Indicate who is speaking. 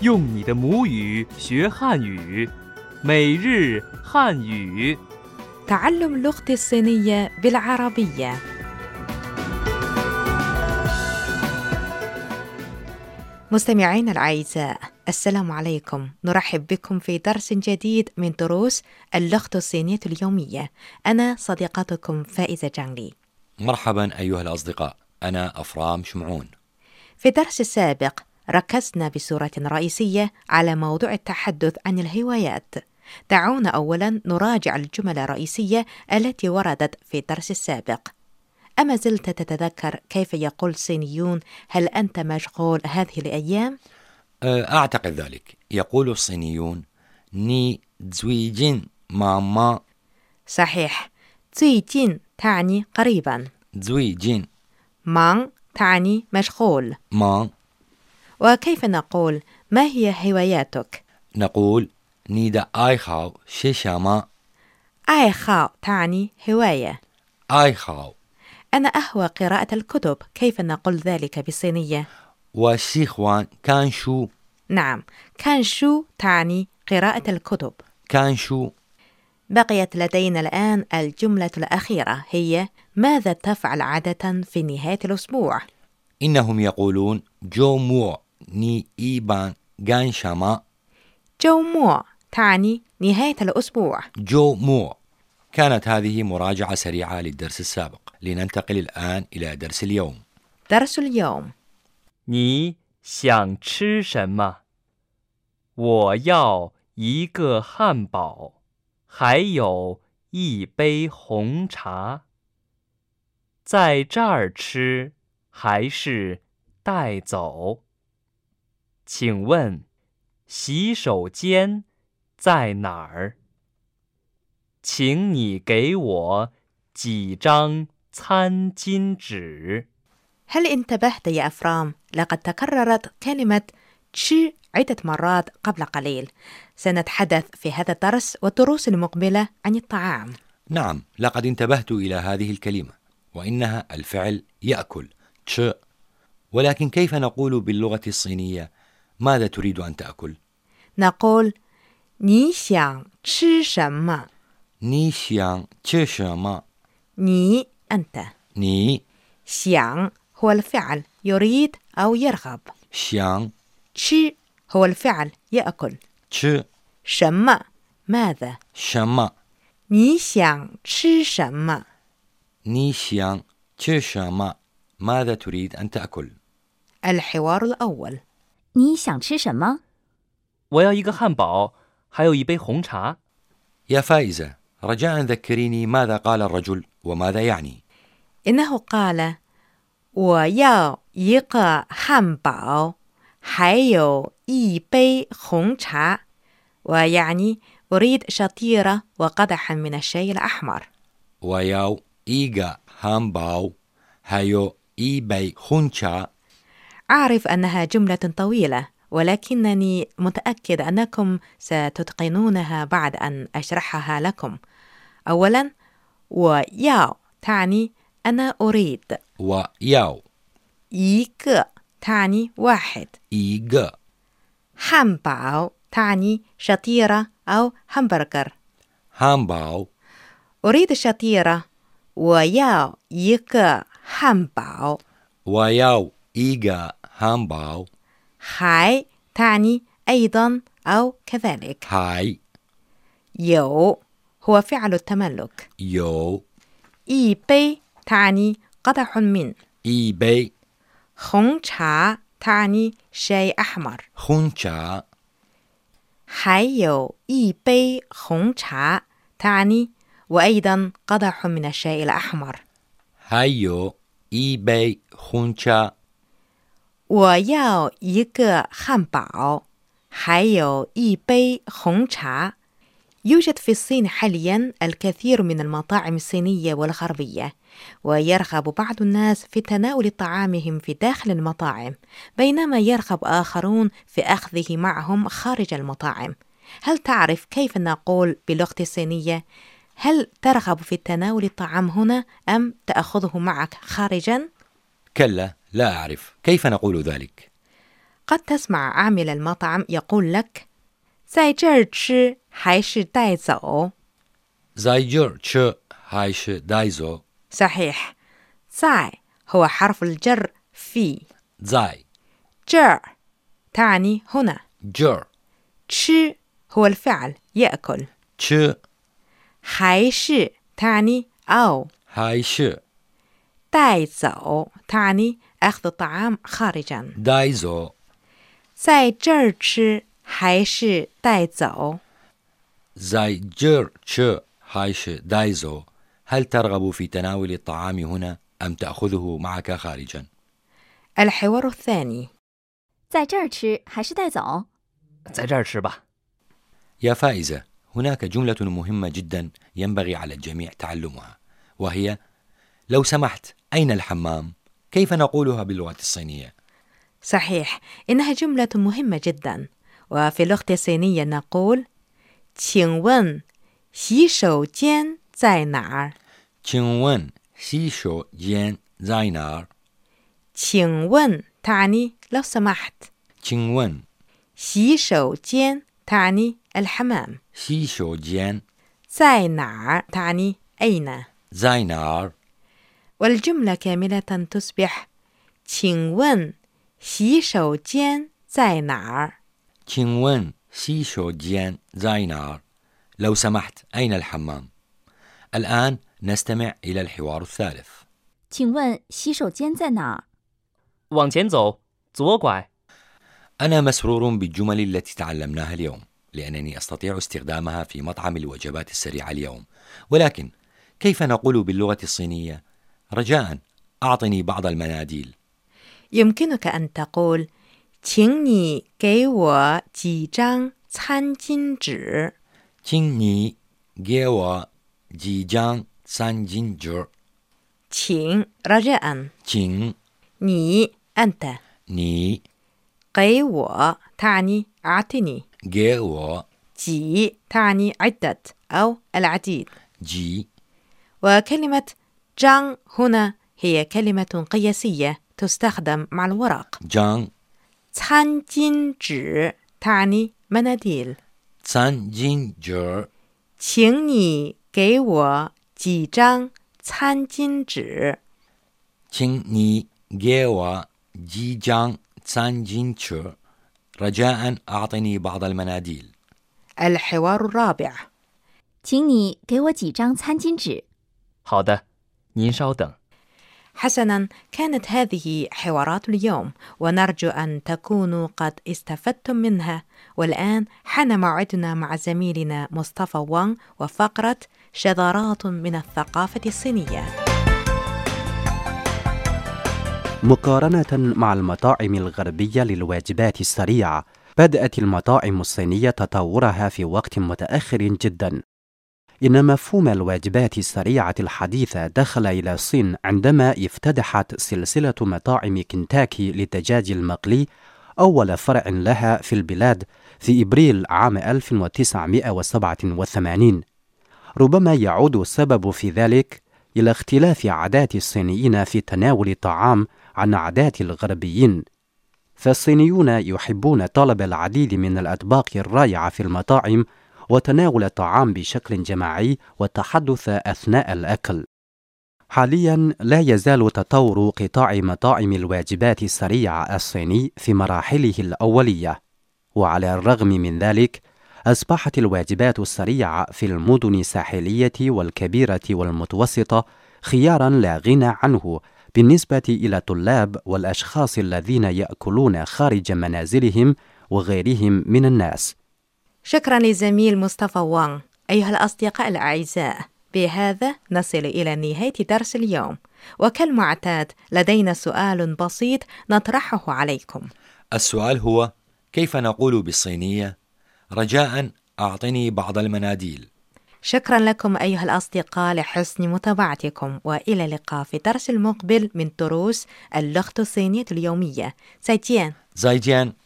Speaker 1: 用你的母语学汉语，每日汉语。
Speaker 2: تعلم لغتي الصينية بالعربية مستمعينا الأعزاء السلام عليكم نرحب بكم في درس جديد من دروس اللغة الصينية اليومية أنا صديقتكم فائزة جانلي
Speaker 3: مرحبا أيها الأصدقاء أنا أفرام شمعون
Speaker 2: في الدرس السابق ركزنا بصورة رئيسية على موضوع التحدث عن الهوايات دعونا أولا نراجع الجمل الرئيسية التي وردت في الدرس السابق أما زلت تتذكر كيف يقول الصينيون هل أنت مشغول هذه الأيام؟
Speaker 3: أه، أعتقد ذلك يقول الصينيون ني زويجين ماما
Speaker 2: صحيح 最近 تعني قريبا
Speaker 3: زويجين
Speaker 2: مع تعني مشغول
Speaker 3: ما
Speaker 2: وكيف نقول ما هي هواياتك؟
Speaker 3: نقول ني دا آي خاو شيشاما
Speaker 2: آي خاو تعني هواية
Speaker 3: آي خاو
Speaker 2: أنا أهوى قراءة الكتب كيف نقول ذلك بالصينية؟
Speaker 3: وشيخوان كان شو
Speaker 2: نعم كان شو تعني قراءة الكتب
Speaker 3: كان شو
Speaker 2: بقيت لدينا الآن الجملة الأخيرة هي ماذا تفعل عادة في نهاية الأسبوع؟
Speaker 3: إنهم يقولون جو مو ني إيبان غان شاما
Speaker 2: جو مو تعني نهاية الأسبوع
Speaker 3: جو مو كانت هذه مراجعة سريعة للدرس السابق لننتقل الآن إلى درس اليوم
Speaker 2: درس اليوم
Speaker 1: 你想吃什么？我要一个汉堡，还有一杯红茶。在这儿吃还是带走？请问洗手间在哪儿？请你给我几张餐巾纸。
Speaker 2: هل انتبهت يا أفرام؟ لقد تكررت كلمة تشي عدة مرات قبل قليل سنتحدث في هذا الدرس والدروس المقبلة عن الطعام
Speaker 3: نعم لقد انتبهت إلى هذه الكلمة وإنها الفعل يأكل تش ولكن كيف نقول باللغة الصينية ماذا تريد أن تأكل؟
Speaker 2: نقول 你想吃什么?
Speaker 3: ني شيان تش شما
Speaker 2: 你 أنت
Speaker 3: ني
Speaker 2: 想 هو الفعل يريد أو يرغب
Speaker 3: شيان
Speaker 2: 吃 هو الفعل يأكل
Speaker 3: تش
Speaker 2: 什么 ماذا
Speaker 3: شما
Speaker 2: 你想吃什么
Speaker 3: ني شيان تش شما ماذا تريد أن تأكل؟
Speaker 2: الحوار الأول
Speaker 4: 你想吃什么？
Speaker 1: 我要一个汉堡，还有一杯红茶。
Speaker 3: يا فائزة رجاء ذكريني ماذا قال الرجل وماذا يعني
Speaker 2: إنه قال 我要一个汉堡，还有一杯红茶 ويعني أريد شطيرة وقدحا من الشاي الأحمر
Speaker 3: وياو إيغا هامباو هايو إيباي خونشا
Speaker 2: أعرف أنها جملة طويلة ولكنني متأكد أنكم ستتقنونها بعد أن أشرحها لكم أولا 我要 تعني أنا أريد
Speaker 3: وياو
Speaker 2: 一个 تعني واحد
Speaker 3: إيغا
Speaker 2: حمباو تعني شطيرة أو همبرجر
Speaker 3: هامباو
Speaker 2: أريد شطيرة وياو يك حمباو
Speaker 3: وياو إيغا هامباو
Speaker 2: هاي تعني أيضا أو كذلك
Speaker 3: هاي
Speaker 2: يو هو فعل التملك
Speaker 3: يو
Speaker 2: إي بي تعني قدح من
Speaker 3: إيباي
Speaker 2: خون شا تعني شاي أحمر
Speaker 3: خونشا
Speaker 2: 还有一杯红茶 تعني وأيضا قدح من الشاي الأحمر
Speaker 3: هايو إيباي خونشا
Speaker 2: 我要一个汉堡，还有一杯红茶。يوجد في الصين حاليا الكثير من المطاعم الصينية والغربية ويرغب بعض الناس في تناول طعامهم في داخل المطاعم بينما يرغب آخرون في أخذه معهم خارج المطاعم هل تعرف كيف نقول باللغة الصينية؟ هل ترغب في تناول الطعام هنا أم تأخذه معك خارجاً؟
Speaker 3: كلا لا أعرف كيف نقول ذلك
Speaker 2: قد تسمع عامل المطعم يقول لك 在这儿吃还是带走
Speaker 3: زاي جر تش هاي ش داي زو
Speaker 2: صحيح 在 هو حرف الجر في
Speaker 3: زاي
Speaker 2: 这儿 تعني هنا
Speaker 3: جر
Speaker 2: 吃 هو الفعل يأكل
Speaker 3: تش
Speaker 2: 还是 تعني أو
Speaker 3: هاي ش
Speaker 2: 带走 تعني أخذ الطعام خارجا
Speaker 3: داي زو
Speaker 2: 在这儿吃还是带走
Speaker 3: زاي جر تش هاي ش داي زو هل ترغب في تناول الطعام هنا أم تأخذه معك خارجا؟
Speaker 2: الحوار الثاني
Speaker 4: 在这儿吃还是带走？
Speaker 1: 在这儿吃吧。
Speaker 3: يا فائزة هناك جملة مهمة جدا ينبغي على الجميع تعلمها وهي لو سمحت أين الحمام؟ كيف نقولها باللغة الصينية؟
Speaker 2: صحيح إنها جملة مهمة جدا وفي اللغة الصينية نقول 请问洗手间在哪儿
Speaker 3: تشينوان سيشو جين زاينار
Speaker 2: 请问 تعني لو سمحت
Speaker 3: تشينوان
Speaker 2: 洗手间 تعني الحمام
Speaker 3: سيشو جين
Speaker 2: 在哪儿 تعني أين
Speaker 3: زاينار
Speaker 2: والجملة كاملة تصبح 请问洗手间在哪儿
Speaker 3: تشينوان سيشو جين زاينار لو سمحت أين الحمام؟ الآن نستمع إلى الحوار الثالث
Speaker 4: 请问洗手间在哪儿？
Speaker 1: 往前走，左拐。
Speaker 3: أنا مسرور بالجمل التي تعلمناها اليوم لأنني أستطيع استخدامها في مطعم الوجبات السريعة اليوم ولكن كيف نقول باللغة الصينية؟ رجاء أعطني بعض المناديل
Speaker 2: يمكنك أن تقول 请你给我几张餐巾纸
Speaker 3: تيني جيوا جيجان سانجينجر
Speaker 2: 请 رجاء
Speaker 3: تين
Speaker 2: 你 أنت
Speaker 3: ني
Speaker 2: 给我 تعني أعطني
Speaker 3: جيوا
Speaker 2: 几 تعني عدة أو العديد
Speaker 3: جي
Speaker 2: وكلمة جان هنا هي كلمة قياسية تستخدم مع الورق
Speaker 3: جان
Speaker 2: 餐巾纸 تعني مناديل
Speaker 3: سانجينجر
Speaker 2: 请你给我几张餐巾纸
Speaker 3: تيني جيوا جيجان سانجينجر رجاء أعطني بعض المناديل
Speaker 2: الحوار الرابع
Speaker 4: 请你给我几张餐巾纸。
Speaker 1: 好的，您稍等。
Speaker 2: حسنا كانت هذه حوارات اليوم ونرجو أن تكونوا قد استفدتم منها والآن حان موعدنا مع زميلنا مصطفى وان وفقرة شذرات من الثقافة الصينية
Speaker 5: مقارنة مع المطاعم الغربية للواجبات السريعة، بدأت المطاعم الصينية تطورها في وقت متأخر جدا. إن مفهوم الواجبات السريعة الحديثة دخل إلى الصين عندما افتتحت سلسلة مطاعم كنتاكي للدجاج المقلي أول فرع لها في البلاد في إبريل عام 1987. ربما يعود السبب في ذلك إلى اختلاف عادات الصينيين في تناول الطعام عن عادات الغربيين فالصينيون يحبون طلب العديد من الأطباق الرائعة في المطاعم وتناول الطعام بشكل جماعي والتحدث أثناء الأكل حاليا لا يزال تطور قطاع مطاعم الواجبات السريعة الصيني في مراحله الأولية وعلى الرغم من ذلك أصبحت الواجبات السريعة في المدن الساحلية والكبيرة والمتوسطة خيارا لا غنى عنه بالنسبة إلى الطلاب والأشخاص الذين يأكلون خارج منازلهم وغيرهم من الناس.
Speaker 2: شكرا لزميل مصطفى وان أيها الأصدقاء الأعزاء بهذا نصل إلى نهاية درس اليوم وكالمعتاد لدينا سؤال بسيط نطرحه عليكم
Speaker 3: السؤال هو كيف نقول بالصينية رجاء أعطني بعض المناديل
Speaker 2: شكرا لكم أيها الأصدقاء لحسن متابعتكم وإلى اللقاء في درس المقبل من دروس اللغة الصينية اليومية سايتيان
Speaker 3: زايجان